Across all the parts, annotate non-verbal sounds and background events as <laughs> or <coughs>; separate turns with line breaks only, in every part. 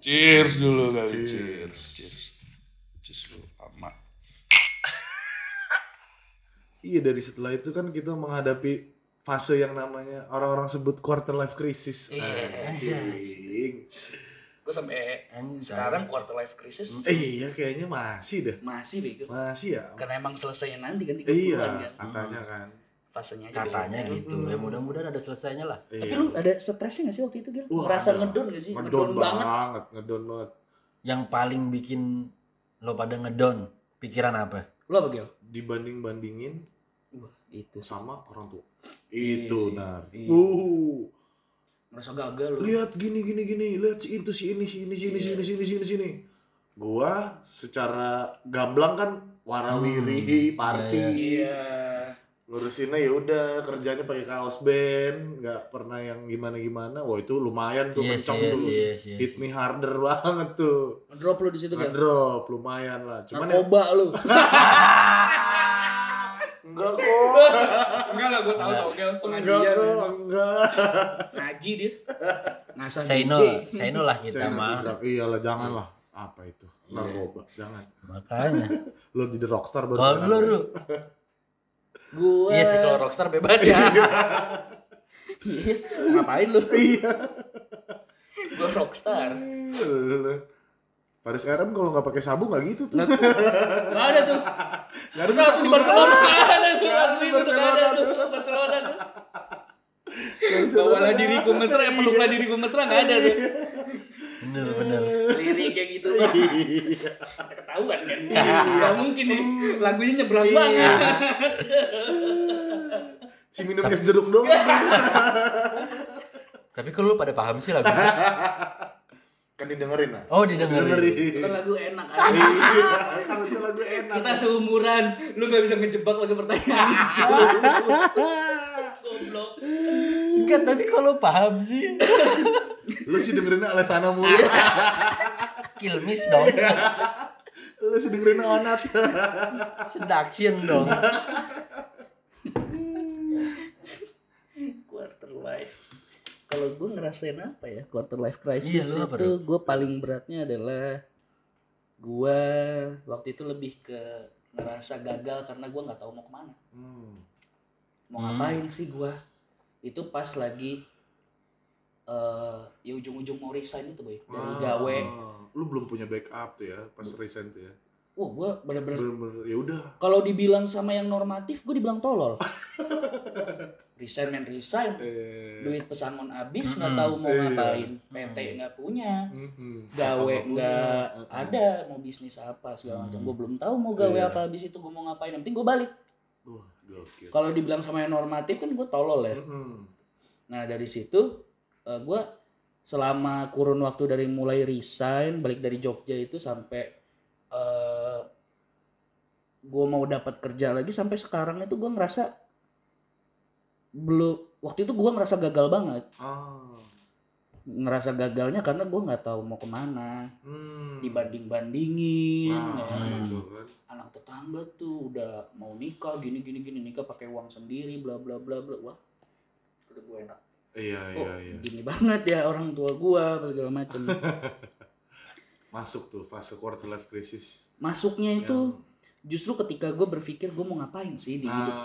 Cheers dulu kali. Cheers. Cheers. Cheers, dulu. Sama.
Iya dari setelah itu kan kita menghadapi fase yang namanya orang-orang sebut quarter life crisis.
Iya,
Anjing.
Gue sampai
Anjing,
ya.
sekarang quarter life crisis
Eh, iya kayaknya masih dah.
masih bego.
Masih ya.
Karena emang selesai nanti kan 30-an
Iya,
kan.
katanya kan.
Fasenya aja
katanya
beda.
gitu ya mudah-mudahan ada selesainya lah
Tapi
Iya.
lu ada stresnya gak sih waktu itu Gil?
Wah,
Ngerasa
ada.
ngedon gak sih?
ngedown banget, ngedown banget.
yang paling bikin lo pada ngedown pikiran apa
Lu apa Gil?
Dibanding-bandingin
Wah, itu.
sama orang tua.
Iya,
Itu
iya.
nar.
Iya.
Wuh.
Ngerasa gagal lu.
lihat gini gini gini lihat si itu si ini si ini si
Iya.
ini si ini si ini si ini si ini gua secara gamblang kan warawiri
Hmm.
party
Iya.
ngurusinnya ya udah kerjanya pakai kaos band nggak pernah yang gimana gimana wah itu lumayan tuh
yes
kencang
yes
tuh
yes yes
hit me harder <laughs> banget tuh
Ngedrop lu di situ Gil.
ngedrop lumayan lah cuman ya,
<laughs>
Narkoba lu.
enggak kok
Enggak lah, gue tahu tau Gil.
enggak kok enggak
Ngaji dia. Ngasah
Say no,
DJ.
say no lah
saya
kita
nanti
mah. Iya.
drag iyalah jangan lah apa itu narkoba jangan
Makanya.
lo jadi rockstar baru
Kalau lu, lu.
Gue.
Iya sih kalau rockstar bebas ya.
Iya, ngapain lu?
iya
Gue rockstar.
Paris RM kalau nggak pakai sabu nggak gitu tuh.
Nggak Gak ada tuh.
Nggak
Terus aku di Barcelona gak ada tuh.
Nggak ada
Aku
di
itu gak ada
Barcelona
tuh. Barcelona tuh. Bawalah diriku mesra, peluklah diriku mesra gak ada tuh.
Bener bener.
Liriknya gitu. Ketahuan kan. Gak mungkin nih. Lagunya nyebrang banget.
Si minum es jeruk doang.
Tapi kalau lu pada paham sih lagunya.
kan didengerin lah.
Oh didengerin.
Itu kan lagu enak aja.
Iya, kan itu lagu enak.
Kita seumuran, lu gak bisa ngejebak lagi pertanyaan itu. Goblok.
Enggak, tapi kalau paham sih.
Lu sih dengerinnya Alessana mulu.
Iya.
Kilmis dong.
Lu sih dengerinnya Onat.
Seduction dong.
quarter life kalau gue ngerasain apa ya quarter life crisis
Iya, lu apa,
itu gue paling beratnya adalah gue waktu itu lebih ke ngerasa gagal karena gue nggak tahu mau kemana
Hmm.
mau
Hmm.
ngapain sih gue itu pas lagi eh ya ujung-ujung mau resign itu boy dari
Ah,
gawe
Lu belum punya backup tuh ya pas resign tuh ya.
wah gue bener-bener
Bener-bener ya udah.
kalau dibilang sama yang normatif gue dibilang
<laughs>
tolol resign men resign
Eh.
duit pesangon habis nggak
Mm-mm.
tahu mau
Iya.
ngapain PT nggak punya
mhm.
gawe
Apa-apa
nggak
punya. Hmm.
ada mau bisnis apa segala macam gue belum tahu mau gawe
Iya.
apa habis itu gue mau ngapain yang penting gue balik
Wah, gokil.
kalau dibilang sama yang normatif kan gue tolol ya
Mhm.
nah dari situ eh, gue selama kurun waktu dari mulai resign balik dari Jogja itu sampai eh gue mau dapat kerja lagi sampai sekarang itu gue ngerasa belum waktu itu gue ngerasa gagal banget
Ah.
ngerasa gagalnya karena gue nggak tahu mau kemana
Hmm.
dibanding ya. bandingin
Nah, gitu kan.
anak tetangga tuh udah mau nikah gini gini gini nikah pakai uang sendiri bla bla bla bla wah udah gue enak
Iya,
oh
iya, iya.
gini banget ya orang tua gua apa segala
<laughs>
macem
Masuk tuh fase quarter life crisis.
masuknya
Iya.
itu justru ketika gue berpikir gue mau ngapain sih di
Nah,
hidup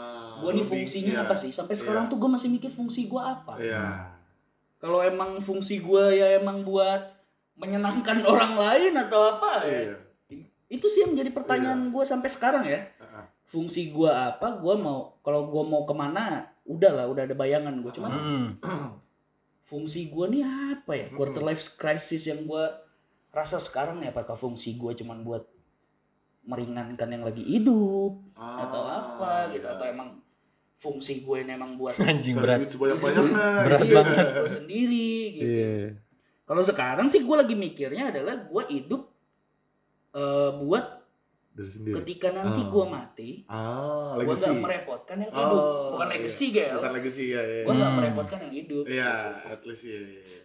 gue nih fungsinya apa sih sampai sekarang tuh gue masih mikir fungsi gue apa
Iya.
kalau emang fungsi gue ya emang buat menyenangkan <laughs> orang lain atau apa ya
Iya.
itu sih yang menjadi pertanyaan gue sampai sekarang ya
Heeh.
fungsi gue apa gue mau kalau gue mau kemana udah lah udah ada bayangan gue cuman
Mm.
fungsi gue nih apa ya
Mm-mm.
quarter life crisis yang gue rasa sekarang ya apakah fungsi gue cuman buat meringankan yang lagi hidup
Ah,
atau apa gitu
iya.
atau emang fungsi gue ini emang
<laughs>
buat
Anjing
Cari
berat.
duit sebanyak-banyaknya.
<laughs> Berat
Iya.
banget.
gue sendiri gitu kalau sekarang sih gue lagi mikirnya adalah gue hidup eh, buat
Dari sendiri.
ketika nanti
Ah.
gue mati
Ah,
gue
legacy.
gak merepotkan yang hidup
Oh,
bukan
iya.
legacy gel
Bukan legacy ya. Iya.
gue gak
Hmm.
merepotkan yang hidup
Iya,
gitu.
at least iya. iya, iya.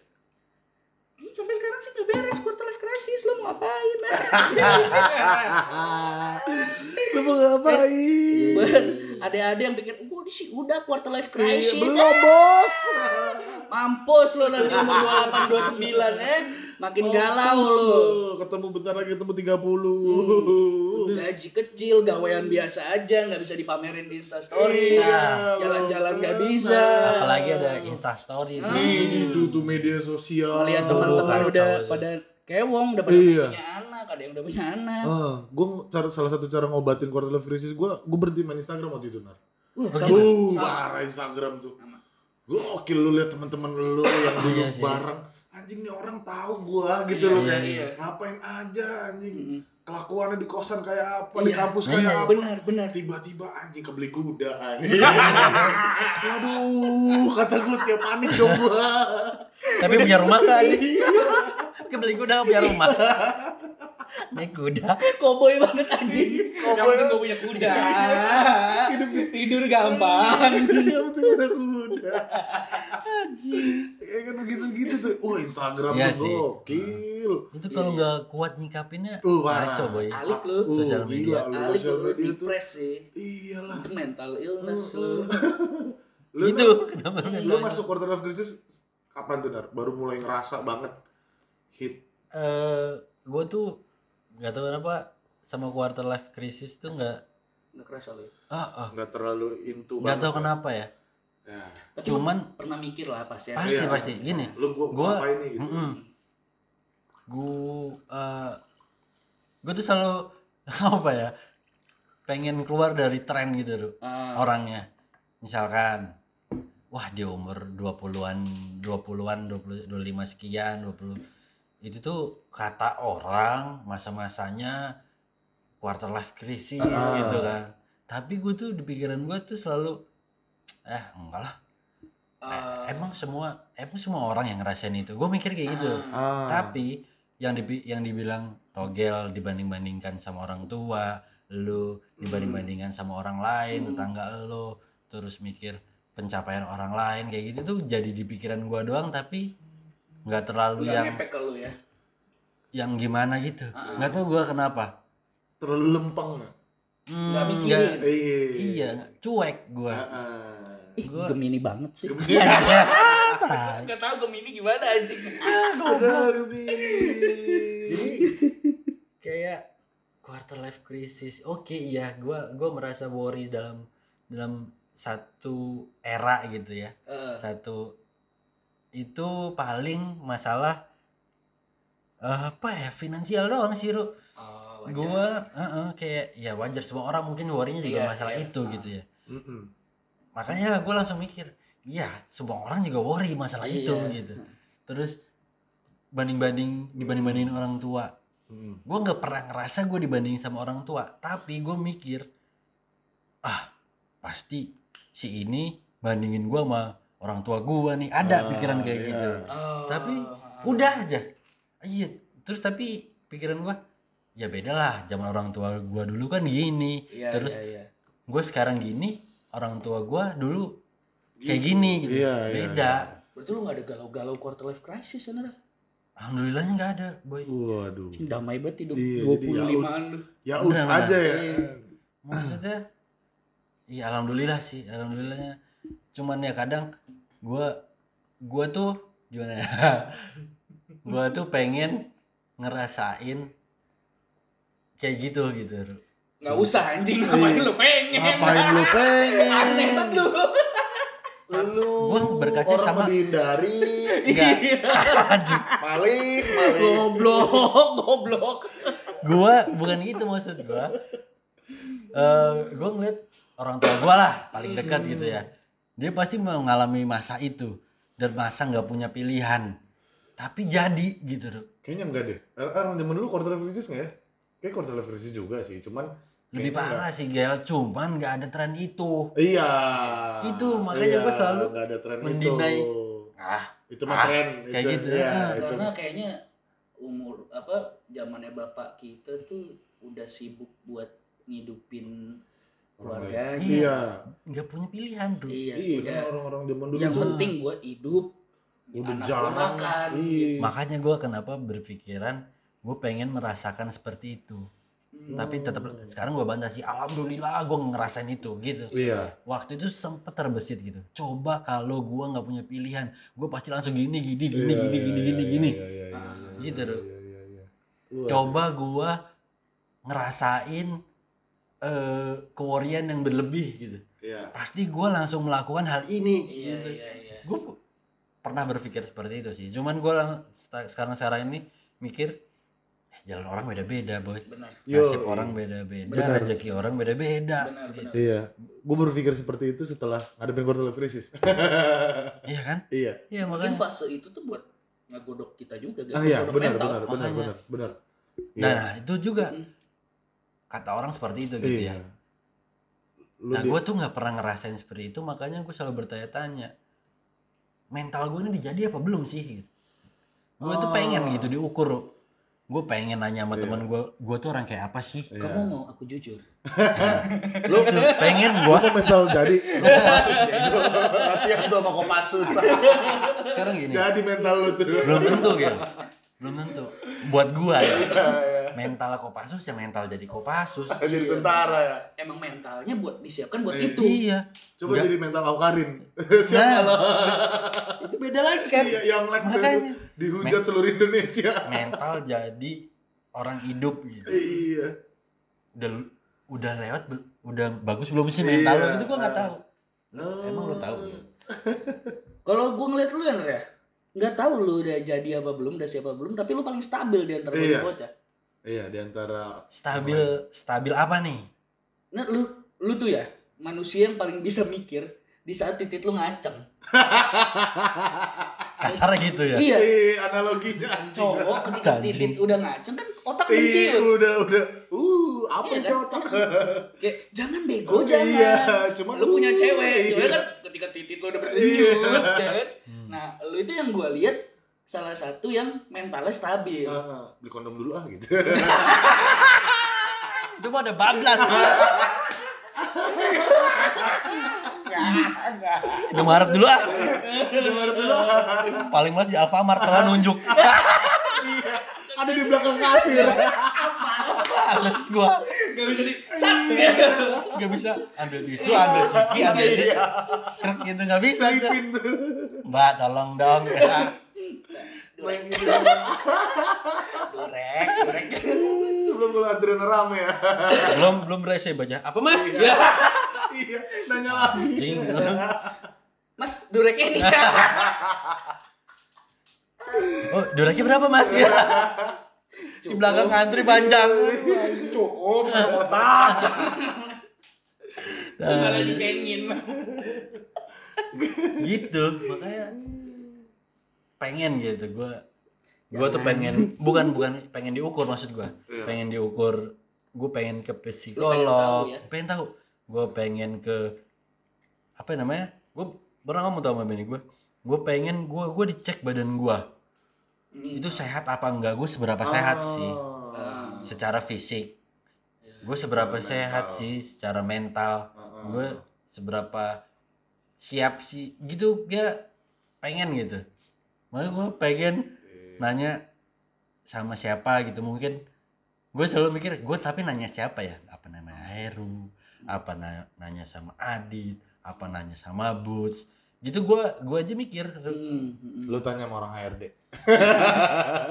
Hmm, sampai sekarang sih gak beres quarter life crisis lo mau ngapain <laughs>
Ah,
Lu mau ngapain?
Buat ada-ada yang pikir gue sih udah quarter
Iya,
life
Iya,
crisis
Belum, Bos.
mampus lo nanti umur 28 29 eh makin
Mampus
galau lu.
Ketemu bentar lagi ketemu 30.
Gaji kecil, gawean biasa aja, nggak bisa dipamerin di Instastory.
Iya,
Oh,
kan.
Jalan-jalan
bener.
nggak bisa.
Apalagi ada instastory
Ah.
Nih, itu tuh media sosial.
Melihat
Aduh,
teman-teman
kacau
udah
sih.
pada kewong, udah pada
Oh, Iya.
punya anak, ada yang udah punya anak.
gue Ah, cara salah satu cara ngobatin quarter life crisis gue, gue berhenti main Instagram waktu itu nar.
Wah, sama.
Begitu.
Uh,
Sama.
parah Instagram tuh.
Sama.
Gokil lu lihat teman-teman
<coughs>
lu yang dulu
Iya sih.
bareng. Anjing nih orang tahu gua gitu
Iya,
loh
iya,
kayak
iya.
ngapain aja anjing.
Mm-mm.
Kelakuannya di kosan kayak apa, di
Iya.
kampus
Iya,
kayak
iya.
apa.
Benar, benar.
Tiba-tiba anjing kebeli kuda
<laughs>
anjing. Waduh, kata gue tiap panik dong gua.
Tapi punya rumah kan?
Iya.
<laughs> Kebeli kuda punya
<laughs>
rumah. Naik kuda.
Koboi Eh, banget anjing. Yang
Koboi.
penting gue punya <laughs> kuda.
Hidup-
Tidur gampang.
Iya betul ada kuda. Ya kan begitu gitu tuh. Wah Instagram
Iya
tuh
sih.
gokil.
Itu kalau nggak kuat nyikapinnya
Lu Iya. Uh, parah.
ngaco boy.
Alik lu.
Uh,
Sosial media.
Gila lu
Alik
sosial
lu
media tuh.
depres sih. <laughs>
Iyalah.
Mental illness lu.
Lu,
Itu
tuh,
kenapa
lu,
lu
Mental
masuk quarter life crisis kapan tuh Dar? Baru mulai ngerasa banget hit.
Eh, gue tuh nggak tahu kenapa sama quarter life crisis tuh nggak
Nggak kerasa lu. ya?
ah ah
Nggak terlalu into
nggak
banget.
tahu kenapa ya
Ya.
Tapi lu
cuman
pernah mikir lah pasti ya.
pasti
Iya.
pasti gini
Lu gua,
Gua-
ngapain nih gitu.
mm gue gue eh, tuh selalu <laughs> apa ya pengen keluar dari tren gitu Ru,
Ah.
orangnya misalkan wah di umur 20-an 20-an 20, 25 sekian 20 itu tuh kata orang masa-masanya quarter life crisis gitu kan tapi gue tuh di pikiran gue tuh selalu eh enggak lah
Ah.
Oh, eh, emang semua emang semua orang yang ngerasain itu gue mikir kayak gitu
Ah.
tapi yang dibi- yang dibilang togel dibanding-bandingkan sama orang tua, lu dibanding-bandingkan sama orang lain,
Hmm.
tetangga lu, terus mikir pencapaian orang lain kayak gitu tuh jadi di pikiran gua doang tapi nggak terlalu
Nggak
yang
ngepek ke lu ya.
yang gimana gitu. Nggak tahu gua kenapa.
terlalu lempeng. nggak?
Hmm,
Nggak mikirin.
nggak-
Iya. Ah,
Iya, cuek gua.
Heeh.
Ih,
Gua- <laughs>
Gemini banget sih.
Iya,
Gak tau Gemini gimana anjing. Eh,
Ada lebih.
<laughs> kayak quarter life crisis. Oke, iya, gua gua merasa worry dalam dalam satu era gitu ya.
Eh,
Satu itu paling masalah eh, apa ya finansial doang sih, Ru.
oh, wajar.
Gua eh, eh, kayak ya wajar semua orang mungkin worrynya juga
Iya,
masalah
iya.
itu gitu ya.
Mm-mm.
Makanya gua langsung mikir, iya, semua orang juga worry masalah itu
Iya.
gitu. Terus banding-banding dibanding-bandingin orang tua
Mm-mm.
gue nggak pernah ngerasa gue dibandingin sama orang tua tapi gue mikir ah pasti si ini bandingin gue sama orang tua gue nih
Ah,
ada pikiran kayak
iya.
gitu
Oh,
Tapi,
ah.
udah aja iya terus tapi pikiran gue ya beda lah zaman orang tua gue dulu kan gini
Iya,
terus
iya, iya.
gue sekarang gini orang tua gue dulu kayak gini gitu
Iya, iya,
beda
Berarti lu gak ada galau-galau quarter life crisis Anara?
alhamdulillahnya nggak ada boy
Waduh.
Cing damai banget hidup
Iya,
25an lu.
Ya
Bener,
udah aja ya.
Iya.
maksudnya iya alhamdulillah sih alhamdulillahnya cuman ya kadang gua gua tuh gimana ya <laughs> gua tuh pengen ngerasain kayak gitu gitu Ru.
Gak usah anjing
Iya.
ngapain lu pengen.
Ngapain
<laughs>
lu
Aneh
pengen?
banget lu.
Lu
Gua berkaca
orang
sama-
mau dihindari,
Enggak.
Iya.
<laughs> Anjing.
maling, maling.
Goblok, goblok.
gua bukan gitu maksud gua Eh, gua ngeliat orang tua gua lah paling dekat gitu ya dia pasti mengalami masa itu dan masa nggak punya pilihan tapi jadi gitu Ru.
Kayaknya enggak deh. Er- Er, zaman dulu quarter life crisis enggak ya? Kayak quarter life crisis juga sih, cuman
lebih
kayaknya
parah sih Gel cuman nggak ada tren itu
nggak- Iya.
Itu, makanya gua selalu
nggak ada tren
mendinai.
itu.
ah
Itu mah
Ah,
tren
kayak
itu,
gitu.
Iya,
Ah,
itu.
Nah, Karena kayaknya umur apa zamannya bapak kita tuh udah sibuk buat ngidupin keluarganya.
Iya.
nggak punya pilihan bro
Iya,
Iya,
udah.
kan orang-orang zaman dulu
Iya,
yang
tuh
penting gue hidup,
udah
anak gue
jarang.
makan.
Iya.
makanya gua kenapa berpikiran gue pengen merasakan seperti itu
Hmm.
Hmm.
tapi tetap sekarang gua bantah sih alhamdulillah gue ngerasain itu gitu
Iya.
waktu itu sempet terbesit gitu coba kalau gua nggak punya pilihan gue pasti langsung gini gini gini
Iya,
gini
iya,
gini
iya,
gini
iya,
gini
iya, iya, iya, iya,
Gitu,
iya,
Dok.
iya, iya, iya. Wah,
coba gua ngerasain eh kewarian yang berlebih gitu
Iya.
pasti gua langsung melakukan hal ini
Iya,
gitu.
iya, iya.
gue pernah berpikir seperti itu sih cuman gue sekarang sekarang ini mikir eh, jalan orang beda-beda boy
Benar.
Yo,
nasib
iya.
orang beda-beda
Benar.
rezeki orang beda-beda
Benar, benar.
Iya. Gue berpikir seperti itu setelah ngadepin quarter life crisis. <laughs>
iya kan
iya.
iya
Mungkin
makanya
fase itu tuh buat ngegodok kita juga, gitu.
Ah iya,
Ngegodok
benar,
mental.
benar, benar,
Ya, makanya.
benar, benar. Iya.
nah, nah, itu juga
Mm.
kata orang seperti itu gitu
Iya.
ya
Lu
nah
di-
gue tuh nggak pernah ngerasain seperti itu makanya gue selalu bertanya-tanya mental gue ini dijadi apa belum sih gue
Ah.
tuh pengen gitu diukur gue pengen nanya
Iya.
sama teman gue gue tuh orang kayak apa sih
Iya.
Kamu mau aku jujur?
lo pengen gue
Gua mental jadi
<laughs>
Kopassus nih. Latihan tuh sama Kopassus.
Iya. sekarang gini
jadi mental lu tuh.
belum tentu gitu belum tentu buat gua ya
Iya, iya.
mental kopasus ya mental jadi kopasus
jadi tentara ya.
Emang mentalnya buat disiapkan buat
Eh,
itu.
iya
Coba
Nggak.
jadi mental kau Karin.
Nah,
Siapa lah?
Itu beda lagi kan?
Iya, yang lag tuh
makanya
dihujat seluruh Indonesia. <laughs>
mental jadi orang hidup gitu
Iya.
udah udah lewat bel- udah bagus belum sih mental lo
Iya.
gitu gua nggak tahu lo
Oh.
emang lo tahu
Kalau gue ngeliat lu ya, Andrea, nggak tahu lu udah jadi apa belum, udah siapa belum, tapi lu paling stabil di antara
Iya.
bocah-bocah.
Iya, di antara
stabil stabil apa nih
Nah, lu lu tuh ya manusia yang paling bisa mikir di saat titik lu ngaceng.
kasar gitu ya
Iya,
Eh, analoginya anjing.
cowok ketika
Anjing.
titik udah ngaceng kan otak
Ih,
menciut.
Iya, udah udah. Uh, apa
Iya
itu
kan? <laughs>
otak?
Kayak jangan bego
Oh,
jangan.
iya, cuman
lu punya
lu-
cewek,
iya.
cewek kan ketika titik lu udah berdenyut
Iya.
kan.
Hmm.
Nah, lu itu yang gua lihat salah satu yang mentalnya stabil.
Ah, beli kondom dulu ah gitu. <laughs>
itu mah ada bablas Udah Maret dulu ah.
Di mana tuh lo?
Paling males di Alfamart telah nunjuk. <laughs>
Iya, ada di belakang kasir.
<laughs>
Males gua.
Gak bisa di Sat!
nggak bisa ambil tisu ambil ciki ambil ini
Iya.
truk gitu nggak bisa tuh.
Selipin tuh.
mbak tolong dong
Main gitu.
Dorek, dorek.
Ih, Uh, Belum mulai antrian rame ya. <laughs>
belum belum rese baca apa mas ya
Iya, nanya lagi.
Anjing.
Mas, dorek ini. ya."
oh duraknya berapa mas ya <laughs> di belakang antri panjang
Om, otak.
Malah dicengin.
gitu makanya pengen gitu gua gua tuh pengen bukan bukan pengen diukur maksud gua pengen diukur gua pengen ke
Lu
psikolog
pengen tahu ya?
pengen tahu gua pengen ke apa namanya gua pernah ngomong tuh sama bini gua gua pengen gua gua dicek badan gua
Hmm.
itu sehat apa enggak gua seberapa
Oh.
sehat sih
Oh.
secara fisik
Ya,
gue seberapa sehat sih secara mental gue seberapa siap sih gitu dia pengen gitu makanya gue pengen nanya sama siapa gitu mungkin gue selalu mikir gue tapi nanya siapa ya apa namanya Heru apa na- nanya sama Adit apa nanya sama Boots gitu gue gue aja mikir
Lu tanya sama orang HRD.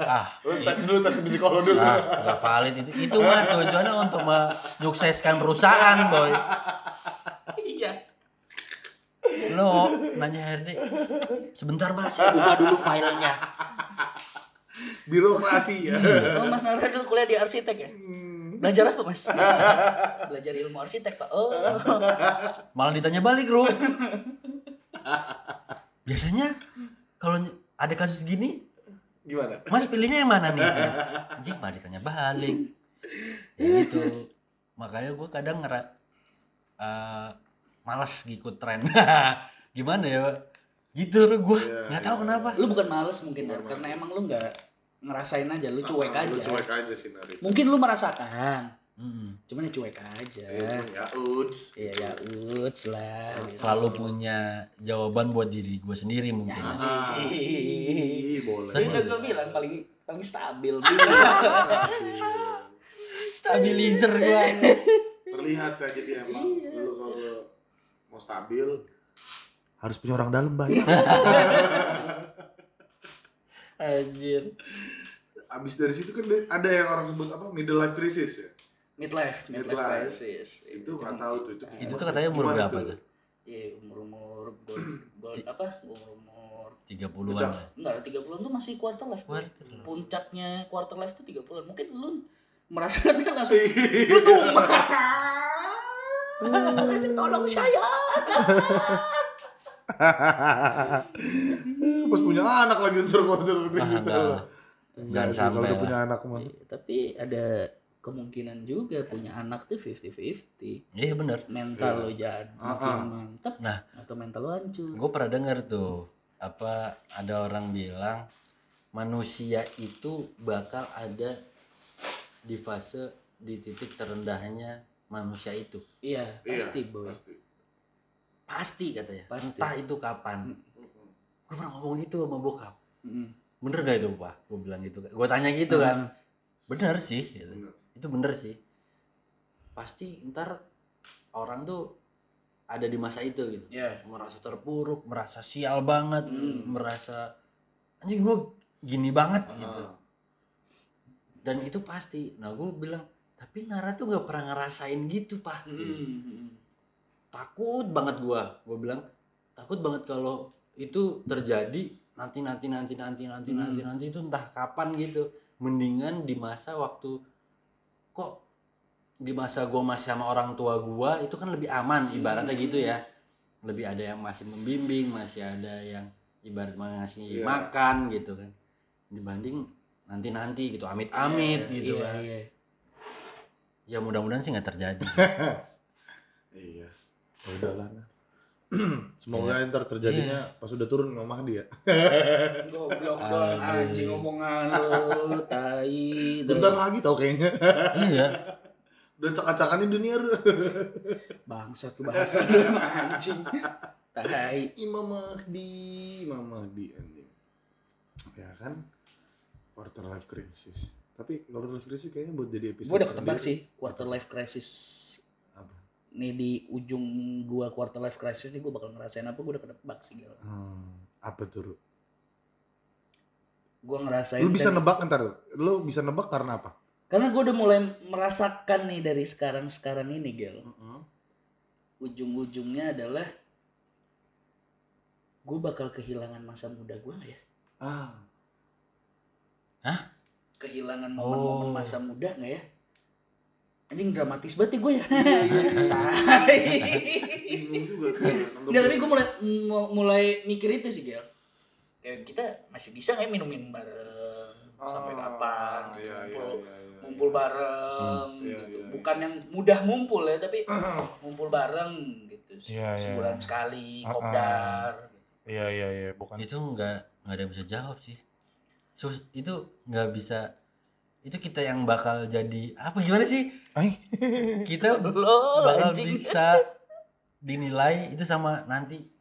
ah
Lu tes dulu, tes psikolog dulu.
ah gak valid itu itu mah tujuannya untuk menyukseskan perusahaan boy
Iya.
lo nanya HRD sebentar mas saya buka dulu filenya
Birokrasi ya.
Oh, Mas Nara dulu kuliah di arsitek ya? Belajar apa,
<laughs>
Mas? Belajar ilmu arsitek, Pak. Oh.
malah ditanya balik bro biasanya kalau ny- ada kasus gini
Gimana?
mas pilihnya yang mana nih anjing malah ditanya balik ya gitu makanya gue kadang ngera eh, males ngikut tren <laughs> gimana ya Pak? gitu lo gue
Iya,
nggak tahu
iya.
kenapa
Lu bukan males mungkin, Nar, karena emang lu nggak ngerasain aja, lu cuek
Ah, Lu
aja.
cuek aja sih, Nari.
Mungkin lu merasakan,
Mm-mm.
cuman ya cuek aja.
Eh, Ya, uds.
Iya, ya uts lah.
Iya.
gitu.
selalu punya jawaban buat diri gue sendiri mungkin
Ah, ih, boleh.
Tadi
Serius.
udah gue bilang paling paling
<laughs>
stabil.
stabilizer
<laughs>
gue
terlihat ya jadi emang lu kalau mau stabil harus punya orang dalam banyak
Anjir.
Abis dari situ kan dia- ada yang orang sebut apa middle life crisis ya.
Midlife, midlife
Midlife.
crisis.
Itu nggak tahu tuh, itu
Nah,
Itu tuh katanya umur
Gimana
berapa
tuh?
tuh?
Iya, umur-umur gold,
<clears throat>
gold apa? Umur-umur
30-an
Puncak.
lah.
enggak 30-an tuh masih quarter life. Boy.
Quarter life.
Puncaknya quarter life tuh 30-an. Mungkin lu <laughs> merasakannya langsung
Iya.
Itu
lu
<laughs>
tuh
Hmm.
tolong
<laughs>
saya.
<laughs> Pas punya anak lagi unsur quarter crisis
Nah, nah.
lah.
Jangan
Enggak sih, kalau
sampai
udah punya anak mah.
Iya, tapi ada kemungkinan juga punya anak tuh 50-50.
Iya bener.
Mental lo jadi makin
Ah, ah.
mantep
Nah.
atau mental lo hancur.
Gue pernah denger tuh apa ada orang bilang manusia itu bakal ada di fase di titik terendahnya manusia itu
Iya,
Iya,
pasti boy.
Pasti.
pasti katanya
Pasti.
entah itu kapan gue pernah ngomong itu sama bokap
Mm.
bener gak itu pak gue bilang gitu gue tanya gitu
Hmm.
kan bener sih gitu.
Bener.
itu bener sih pasti ntar orang tuh ada di masa itu gitu
Iya.
merasa terpuruk merasa sial banget
Hmm.
merasa anjing gue gini banget
Ah.
gitu dan itu pasti nah gue bilang tapi Nara tuh gak pernah ngerasain gitu pak
Mm.
takut banget gua gue bilang takut banget kalau itu terjadi nanti nanti nanti nanti nanti
Hmm.
nanti nanti itu entah kapan gitu mendingan di masa waktu kok di masa gua masih sama orang tua gua itu kan lebih aman ibaratnya
Hmm.
gitu ya lebih ada yang masih membimbing masih ada yang ibarat
Iya.
ngasih makan gitu kan dibanding nanti nanti gitu amit amit
Iya,
gitu kan
iya.
ya mudah-mudahan sih nggak terjadi <laughs>
Iya. Udah lah. nah. Semoga ntar terjadinya pas udah turun sama Mahdi ya.
Goblok doang
Aduh.
anjing omongan lu, tai.
Bentar
Terus,
lagi tau kayaknya.
iya
Udah cak-cakannya dunia. Ru.
Bangsat lu bahasa lu <laughs> emang anjing. Tai.
Imam Mahdi, Imam Mahdi anjing. Ya kan? Quarter life crisis. Tapi quarter life crisis kayaknya buat jadi episode.
Gue udah ketebak
sendiri.
sih quarter life crisis.
Apa?
Nih di ujung gua quarter life crisis nih gue bakal ngerasain apa gue udah ketebak sih Gil.
Hmm, apa tuh? Ru?
Gue ngerasain
Lu bisa
dan-
nebak ntar. Ru. Lu bisa nebak karena apa?
karena gue udah mulai merasakan nih dari sekarang-sekarang ini Gil. Ujung-ujungnya adalah gue bakal kehilangan masa muda gue ya.
Ah,
kehilangan
Oh.
momen-momen masa muda nggak ya? Anjing dramatis banget ya gue ya.
Iya,
Tai.
bingung juga. kan.
<laughs>
iya.
Nggak, tapi gue mulai mu- mulai mikir itu sih Gel. Kayak kita masih bisa nggak ya minum-minum bareng sampai kapan? Gitu,
Iya, iya,
ngumpul,
iya, iya.
ngumpul bareng
Hmm. Iya,
gitu.
iya,
Bukan yang mudah ngumpul ya, <clears throat> tapi ngumpul bareng gitu. Se-
Iya, iya.
Sebulan sekali,
Ah, ah.
kopdar. gitu.
Iya iya iya bukan.
itu nggak nggak ada yang bisa jawab sih Sus, itu nggak bisa itu kita yang bakal jadi apa gimana sih
Ay.
<laughs> kita
Lo
bakal
anjing.
bisa dinilai itu sama nanti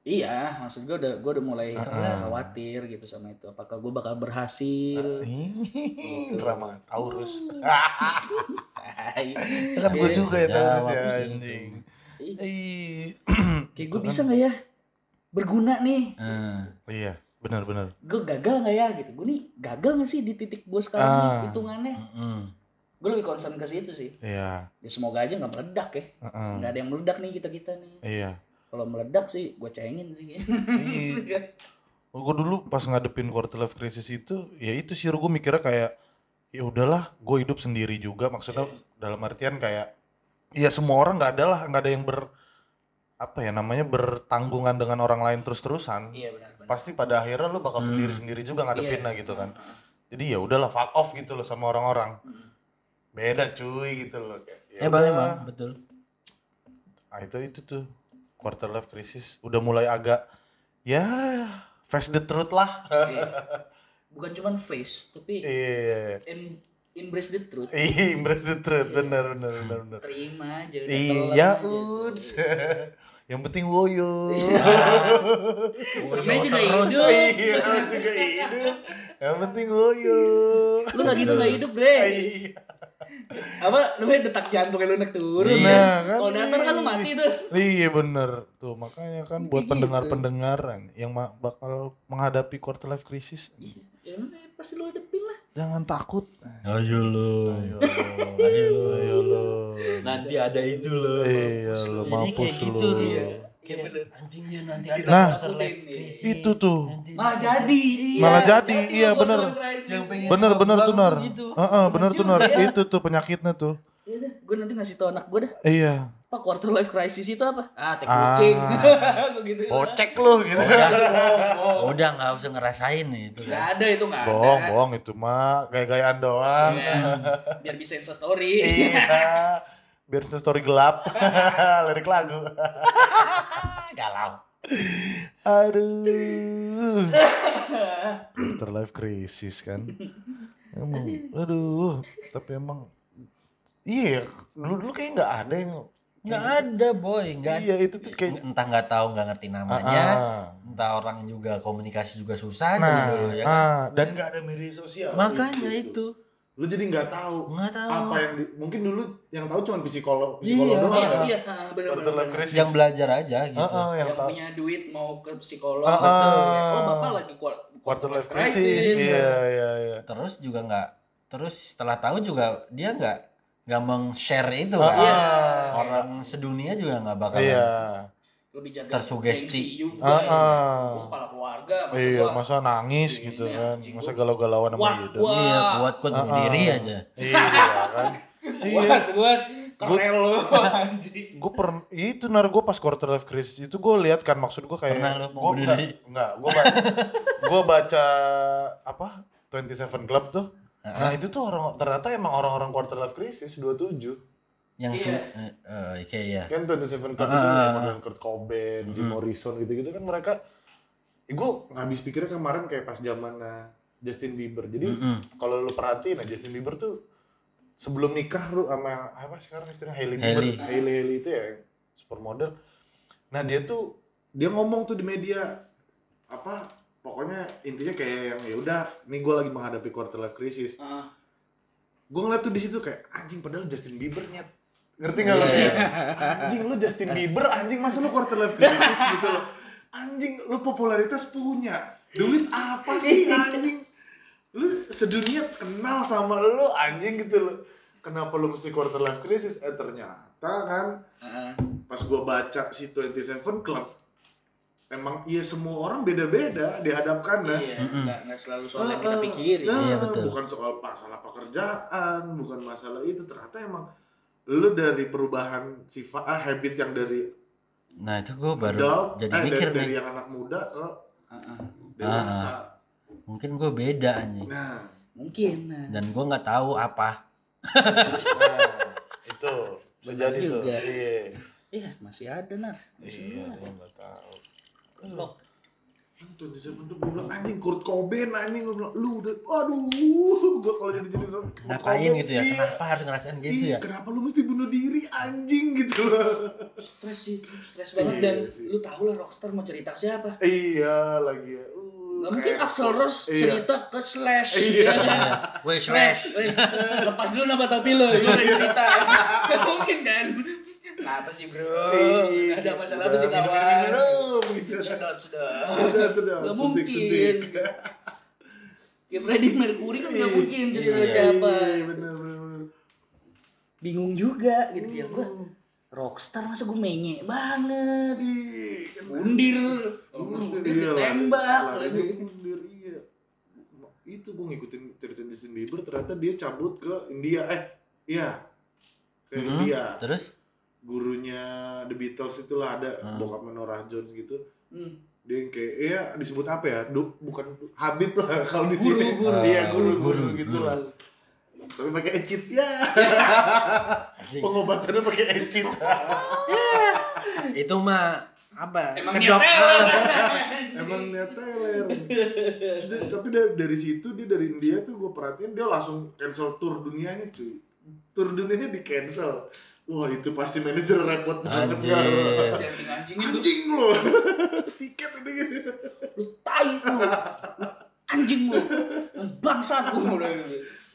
Iya, maksud gue udah gue udah mulai
Ah,
sebenarnya
ah.
khawatir gitu sama itu. Apakah gue bakal berhasil?
Ih, Drama Taurus.
Hmm.
<laughs>
Tai.
Kan gue
Iya,
juga ya
bisa
Taurus
jawab
ya
sih.
anjing.
Ih,
Ih.
Eh,
gitu kan.
Kayak gue bisa nggak ya? Berguna nih.
Eh,
Iya, benar-benar.
Gue gagal nggak ya gitu. Gue nih gagal nggak sih di titik gue sekarang nih,
Ah.
hitungannya?
mm-mm.
Gue lebih concern ke situ sih.
Iya.
Ya semoga aja nggak meledak ya.
Heeh.
Nggak ada yang meledak nih kita kita nih.
Iya.
Kalau meledak sih gue cengin sih. <laughs>
<laughs>
Ih.
Iya.
gue Iya. dulu pas ngadepin quarter life crisis itu ya itu sih gue mikirnya kayak ya udahlah gue hidup sendiri juga maksudnya
Iya.
dalam artian kayak ya semua orang nggak ada lah nggak ada yang ber apa ya namanya bertanggungan dengan orang lain terus terusan
iya benar-benar.
pasti pada akhirnya lo bakal
Hmm. Iya.
sendiri sendiri juga ngadepin lah gitu kan
Ah,
jadi ya udahlah fuck off gitu loh sama orang-orang
Mm.
beda cuy gitu loh kayak, ya
Eh, bang,
udah.
emang betul
Ah, itu itu tuh quarter life crisis udah mulai agak ya face the truth lah
Iya. Bukan cuman face tapi
iya
em- embrace the truth.
Ih, embrace the truth, benar benar benar benar.
terima aja udah telan
Iya,
aja
uds.
tuh.
<laughs> Yang penting <laughs> woyo.
Iya. namanya juga hidup
Iya, lu juga hidup. Yang penting woyo.
lu gak gitu gak hidup bre
Iya.
apa namanya detak jantungnya lu naik turun ya.
Nah, kan.
kalau datar kan lu mati tuh
Iya bener tuh Gitu. makanya kan buat pendengar-pendengaran yang ma- bakal menghadapi quarter life crisis
ya emang, eh, pasti lu hadepin lah
Jangan takut.
Ayo lo.
Ayo Iya,
Ayo lo.
Ayo lo.
Nanti ada itu lo. gitu
Iya lo mampus gitu lo.
Iya.
Kayak bener, anjingnya iya, nanti ada
Nah,
quarter life crisis.
itu tuh.
Nanti-
malah jadi
Malah jadi, iya,
quarter
bener.
life crisis.
Yang pengen
Bener bener
bangun
tuh nar.
tuh gitu.
Heeh, bener tuh nar.
Iya.
Itu tuh penyakitnya tuh.
Iya dah, gue nanti ngasih tau anak gue dah.
Iya.
Pak, quarter life crisis itu apa? Ah, teh
Ah.
kucing. <laughs> Gua gitu.
Bocek lo gitu.
Udah nggak usah ngerasain nih itu
Gak
kan.
ada itu gak
Bohong,
ada.
bohong itu mah gaya-gayaan doang.
Iya. Biar bisa insta story.
iya. Biar story
<laughs>
gelap. Lirik lagu.
Galau.
Aduh. Quarter life crisis kan. Emang, aduh. Tapi emang, iya. Dulu dulu kayak nggak ada yang.
Nggak ada boy. Nggak
Iya itu tuh kayak.
entah nggak tahu nggak ngerti namanya.
Ah,
Entah orang juga komunikasi juga susah
Nah,
Iya,
dulu ya. kan.
ah, dan nggak ada media sosial.
itu-
Makanya itu
Gitu. Lu jadi nggak tahu
nggak tahu.
apa
ya,
yang di- mungkin dulu yang tahu cuma psikolog, psikolog
Iya,
doang.
Iya,
kan?
iya, ah, bener
Quarter life
bener.
crisis.
Yang belajar aja gitu.
Ah, ah, yang,
iya. Yang
tahu.
punya duit mau ke psikolog.
Ah,
betul.
ah.
Oh, bapak lagi quar-
quarter life crisis. Iya iya iya.
Terus juga nggak. Terus setelah tahu juga dia nggak nggak meng-share itu
Ah,
kan.
ah.
Orang sedunia juga nggak bakal
Iya.
Lebih jaga
Tersugesti.
gengsi juga.
Ah,
ya.
ah.
Gua kepala keluarga, masa
Iya,
gua
masa nangis
Ini
gitu
nih,
kan.
anjing
Masa
gua.
galau-galauan sama
Wah,
Yuda.
wah.
Iya, buat kuat bunuh
Ah, ah.
diri aja.
Iya kan. Iya.
<laughs> Wah, gue keren
<laughs>
lu anjing.
gue per itu nar gue pas quarter life crisis itu gue lihat kan maksud gue kayak
Pernah lu mau
gue
bunuh
enggak,
diri?
enggak gue
<laughs>
baca, gue baca apa 27 Club tuh nah itu tuh orang ternyata emang orang-orang quarter life crisis 27
Yang
Iya.
su- eh, eh, kayak ya.
kan 27 Club itu
Ah.
emang dengan Kurt Cobain, Jim Morrison gitu-gitu kan mereka gue
Habis pikirnya kemarin kayak pas zamannya Justin Bieber. Jadi
Mm-mm.
kalau lu perhatiin nah Justin Bieber tuh sebelum nikah lu sama apa sekarang istrinya Hailey
Hailey.
Bieber Hailey Hailey itu ya yang supermodel nah dia tuh
dia ngomong tuh di media apa pokoknya intinya kayak yang ya udah nih gue lagi menghadapi quarter life crisis
Ah.
gue ngeliat tuh di situ kayak anjing padahal Justin Bieber nyet ngerti nggak lo
Iya.
<laughs> Kayak, anjing lu Justin Bieber anjing masa lu quarter life crisis gitu loh anjing lu popularitas punya duit apa sih anjing lu sedunia Iya. kenal sama lu anjing gitu loh kenapa lu mesti quarter life crisis eh ternyata kan
Ah.
pas gua baca si 27 Club emang iya semua orang beda-beda dihadapkan nah
Iya,
Mm-mm.
nggak nggak selalu soal
Ah,
yang kita
ah.
pikirin.
Nah,
Iya, betul.
bukan soal masalah pekerjaan bukan masalah itu ternyata emang lu dari perubahan sifat ah, habit yang dari
Nah itu gue baru
adult,
jadi
eh,
mikir
dari, dari
nih,
yang anak muda ke
Ah, ah.
dewasa
mungkin gue beda anjing.
nah
Mungkin. Nah.
Dan gue nggak tahu apa.
Nah, itu bisa
Benar
jadi tuh.
juga.
Iya.
Iya, masih ada nar. Masih
Iya,
ada.
gua nggak tahu.
Blok.
kan 27 tuh gua bilang anjing Kurt Cobain anjing gua bilang lu udah aduh <laughs> gua kalau jadi jadi Kurt
Ngapain
Cobain,
gitu ya?
iya,
Kenapa harus ngerasain gitu
iya,
ya?
kenapa lu mesti bunuh diri anjing gitu loh
Stres sih, stres
Iya
banget dan
sih.
lu tau lah rockstar mau cerita ke siapa.
<laughs> Iya lagi ya. Uh,
Nggak mungkin
kayak-
Axl Rose
Iya.
cerita ke Slash.
Iya.
ya kan?
Wes
Slash, eh, lepas dulu nama topi lu, lu udah cerita. Nggak mungkin kan? Kenapa sih bro?
Iya,
Ada masalah apa sih
udah, minum,
kawan?
minum, minum, gitu. Iya,
Sedot, sedot.
Sudah, <laughs> sudah.
Nggak
Suntik, suntik.
mungkin. Ya Freddie Mercury kan nggak
Iya.
mungkin cerita
Iya,
ke siapa.
Iya, benar, benar, benar.
Bingung juga gitu ya gua. Rockstar masa gue menye banget.
Ih, kan-
Mundir. Oh,
Mundir,
Udah
iya, lari-
ditembak
larinya
lagi.
mundir, iya. Itu gue ngikutin cerita Justin Bieber ternyata dia cabut ke India. Eh, iya. Ke
Mhm.
India.
Terus?
Gurunya The Beatles itulah ada
Hmm.
bokap Norah Jones gitu.
Hmm.
dia yang kayak ya disebut apa ya Du- bukan Du- Habib lah <laughs> kalau di
Guru,
sini
guru.
iya
Guru, Ah, guru,
guru-guru gitu
guru.
lah tapi pakai ecit ya
Asik.
pengobatannya pakai ecit
Itu mah apa?
Emang
Kedok-
<laughs> niatnya
emang niat teler Terus dia- tapi dari, dari situ dia dari India tuh gue perhatiin dia langsung cancel tour dunianya cuy tour dunianya di cancel wah itu pasti manajer repot banget kan
Anjir.
Anjingin lu,
anjing lo <laughs> tiket ini gini
lu tai lu. Anjing lu. Bangsat lu.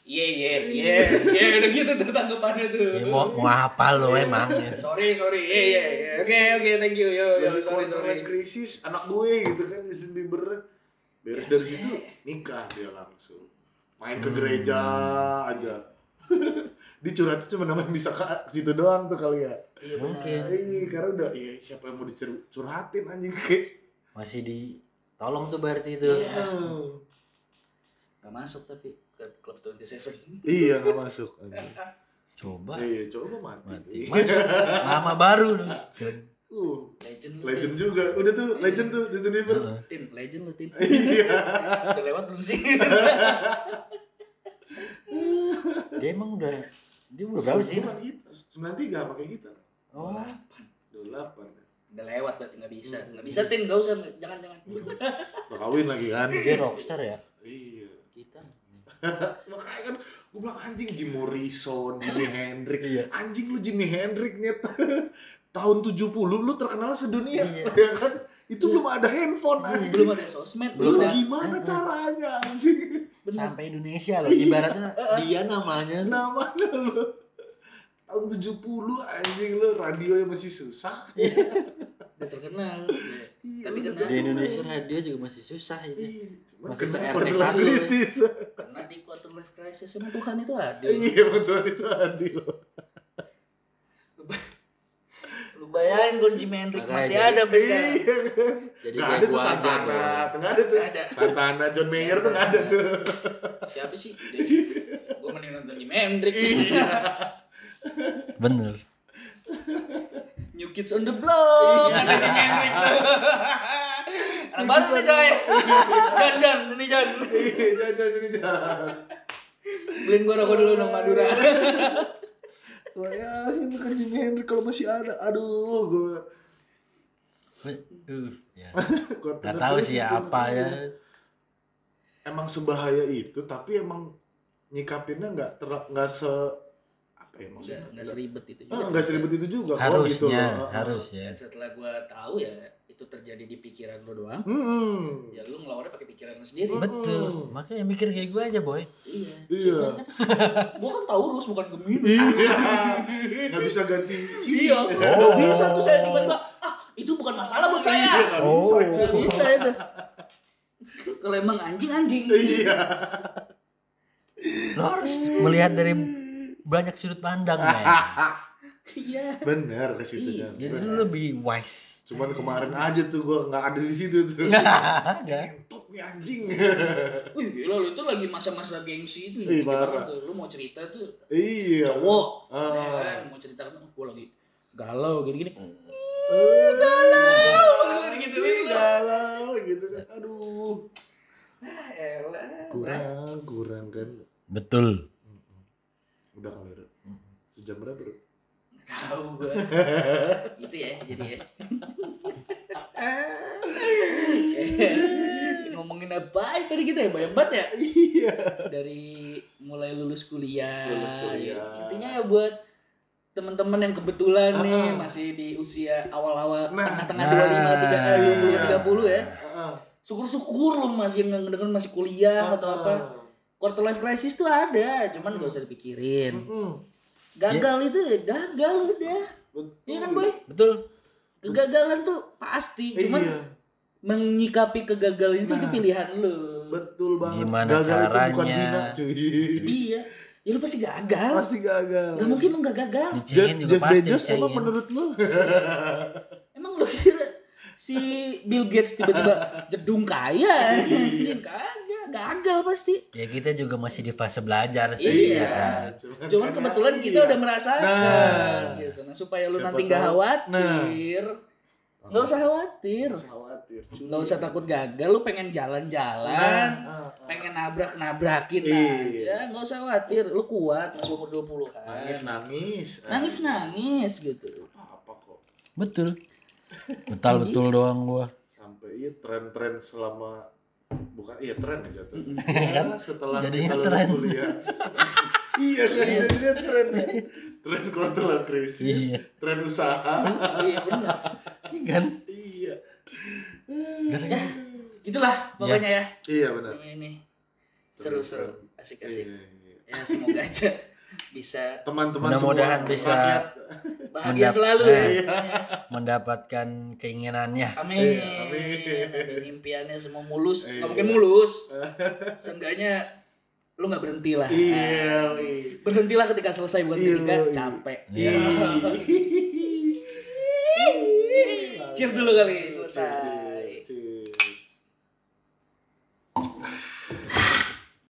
Iya, iya, iya. <laughs> Iya, udah gitu tuh tanggapannya tuh.
Ya, mau, mau apa lo emang?
Sorry, sorry. Iya, iya, iya. Oke, oke, thank you. Yo, yo,
lagi
sorry,
quarter
sorry.
life crisis anak gue gitu kan Justin Bieber beres dari situ
Iya,
nikah dia langsung main ke gereja aja <laughs> dia curhatnya cuma namanya bisa ke ke situ doang tuh kali ya
Iya, benar.
Mungkin.
Iya, karena udah iya siapa yang mau dicurhatin anjing kayak
masih di tolong tuh berarti
Iya.
itu
Gak masuk tapi ke klub 27.
iya nggak masuk anjing.
coba
iya coba mati,
mati
Iya.
Mas, nama baru lu.
Uh,
Legend lu.
legend juga udah tuh legend tuh Justin Bieber
Heeh.
Tin, legend lu tin.
<laughs> iya
Udah lewat belum
<laughs>
sih?
dia emang udah dia udah berapa sih
Sembilan gitu sembilan tiga pakai kita
oh
dua delapan
Udah lewat berarti nggak bisa. Nggak bisa tin, nggak usah. Jangan jangan.
lo kawin lagi kan
dia rockstar ya
iya
Kita.
makanya kan gue bilang anjing Jim Morrison Jimi Hendrix
Iya.
anjing lu Jimi Hendrix nyet <laughs> tahun 70 lu terkenal sedunia
Iya.
<laughs> ya kan itu belum ada handphone anjing
Iya, Belum ada sosmed.
lu
Belum.
Belum
ya.
ada.
gimana caranya anjing
sampai Indonesia loh ibaratnya
Iya.
dia namanya
namanya lu tahun 70 anjing lu radio yang masih susah
Udah terkenal. Iya.
Iya,
Tapi
lu
kena.
di
terkenal.
Indonesia radio juga masih susah itu
Iya, cuman
Masih
kena
se-RT
quarter
satu.
crisis
Karena di quarter life crisis sama Tuhan itu ada.
iya maksudnya itu adil
Lu bayangin kalau Jimi Hendrix
Makanya
masih
jadi-
ada sampai sekarang.
iya kan
jadi
nggak
kayak
ada tuh
gua aja
Santana
gua.
tuh nggak ada tuh
Nggak ada.
Santana John Mayer tuh nggak ada tuh
Siapa sih? Jadi, Gua mending nonton Jimi Hendrix.
Iya.
bener
New Kids on the Block.
Iya.
Ada Jimi Hendrix
<laughs>
tuh. Anak baru nih coy. Jan Jan, ini Jan.
Iya, jangan jangan sini jangan
Beliin gua rokok dulu dong
Iya.
Madura.
bayangin lu kan Jimi Hendrix kalau masih ada aduh gue
Uh, ya. nggak tahu sih ya,
Oh,
apa ya
Iya. emang sebahaya itu tapi emang nyikapinnya nggak ter nggak se apa ya
Enggak,
maksudnya
enggak seribet itu
Ah, nggak seribet itu juga kok, gitu
harusnya
loh.
harus ya
Dan setelah gua tahu ya itu terjadi di pikiran lu doang.
Mm-mm.
Ya lu ngelawannya pakai pikiran lu sendiri.
betul makanya mikir kayak gue aja boy
Iya.
iya
Gua kan Taurus bukan Gemini. <laughs>
iya nggak bisa Oh. ganti sisi
Iya. Nggak bisa tuh saya tiba-tiba ah itu bukan masalah buat
Iya,
saya.
nggak
Oh.
bisa
Gak bisa itu. Kalau emang anjing anjing.
iya
lo harus melihat dari banyak sudut pandang men.
Iya.
bener ke situ Jan.
Iya,
jadi
Bener.
lo lebih wise
<laughs> cuman kemarin aja tuh gue nggak ada di situ tuh
Iya.
ada
top nih anjing
Wih gila lu itu lagi masa-masa gengsi itu
Ih,
gini
Iya,
banget
parah.
tuh. Lu mau cerita tuh
iya
cowok.
Ah. Hmm.
Ya kan? Mau cerita kan oh, gua lagi galau gini-gini.
Eh,
galau.
Ih,
Gitu gitu.
Iya, galau gitu kan aduh
Ah, elah.
kurang kurang kan
betul
udah kali Ru.
Hmm.
sejam berapa Ru?
Tahu gua.
<laughs>
Gitu ya jadi ya.
Ah.
Oke. <laughs> Ngomongin apa tadi kita ya banyak banget ya.
iya
dari mulai lulus kuliah.
Lulus kuliah.
Intinya ya buat teman-teman yang kebetulan
Ah.
nih masih di usia awal-awal
Nah. iya.
tengah-tengah
Nah.
eh, 25 30 ya.
Heeh.
Syukur-syukur lu masih yang ngedenger masih kuliah
Ah,
atau apa. Quarter life crisis tuh ada,
Hmm.
cuman gak usah dipikirin.
Mm-mm.
Gagal itu ya gagal udah.
Betul.
Iya kan, Boy?
betul
Kegagalan tuh pasti, cuman
iya
menyikapi kegagalan itu, itu
Nah.
pilihan lu.
betul banget
Gimana
gagal itu bukan
caranya?
bina cuy
Iya. Ya lu pasti gagal.
pasti gagal
Gak mungkin lu gak gagal.
Jeff,
dicengin juga
Jeff
pasti
Bezos emang
dicengin
menurut lu
Emang lu kira si Bill Gates tiba-tiba jedung
Iya.
kaya? Anjing kagak, gagal pasti.
ya kita juga masih di fase belajar sih
Iya.
ya.
cuman, Kan
Cuman
karena
kebetulan kita
iya.
udah merasakan
Nah.
gitu. Nah, supaya lu
Siapa
nanti nggak
tahu. Nah.
khawatir. Nggak usah khawatir.
Harus khawatir cuy.
Nggak usah takut gagal, lu pengen jalan-jalan.
Nah,
Pengen nabrak-nabrakin
Iya.
aja, nggak usah khawatir. Lu kuat masuk umur 20-an.
nangis nangis
Nangis-nangis gitu.
apa kok
betul betul betul doang gua
sampai iya tren-tren selama bukan iya tren aja tuh setelah
Iya kan? Jadinya
kita lulus
tren.
kuliah <laughs> iya kan jadinya tren tren quarter life crisis
Iya.
tren usaha
Iya benar.
Iya kan
iya
Itulah pokoknya ya.
iya benar
Ini seru-seru, asik-asik.
Iya, iya, iya.
ya semoga aja bisa
teman-teman semua
Mudah-mudahan bisa.
rakyat
Bahagia
Mendap-
selalu
Iya.
Nah.
ya.
mendapatkan keinginannya.
Amin.
Iya, amin.
Amin. Impiannya semua mulus.
Iya.
Nggak mungkin
<laughs>
mulus. Seenggaknya lu nggak berhenti lah.
Iya,
Ah. Berhentilah ketika selesai bukan
Iya,
ketika
iya.
capek.
Iya.
Iya.
Cheers dulu kali selesai.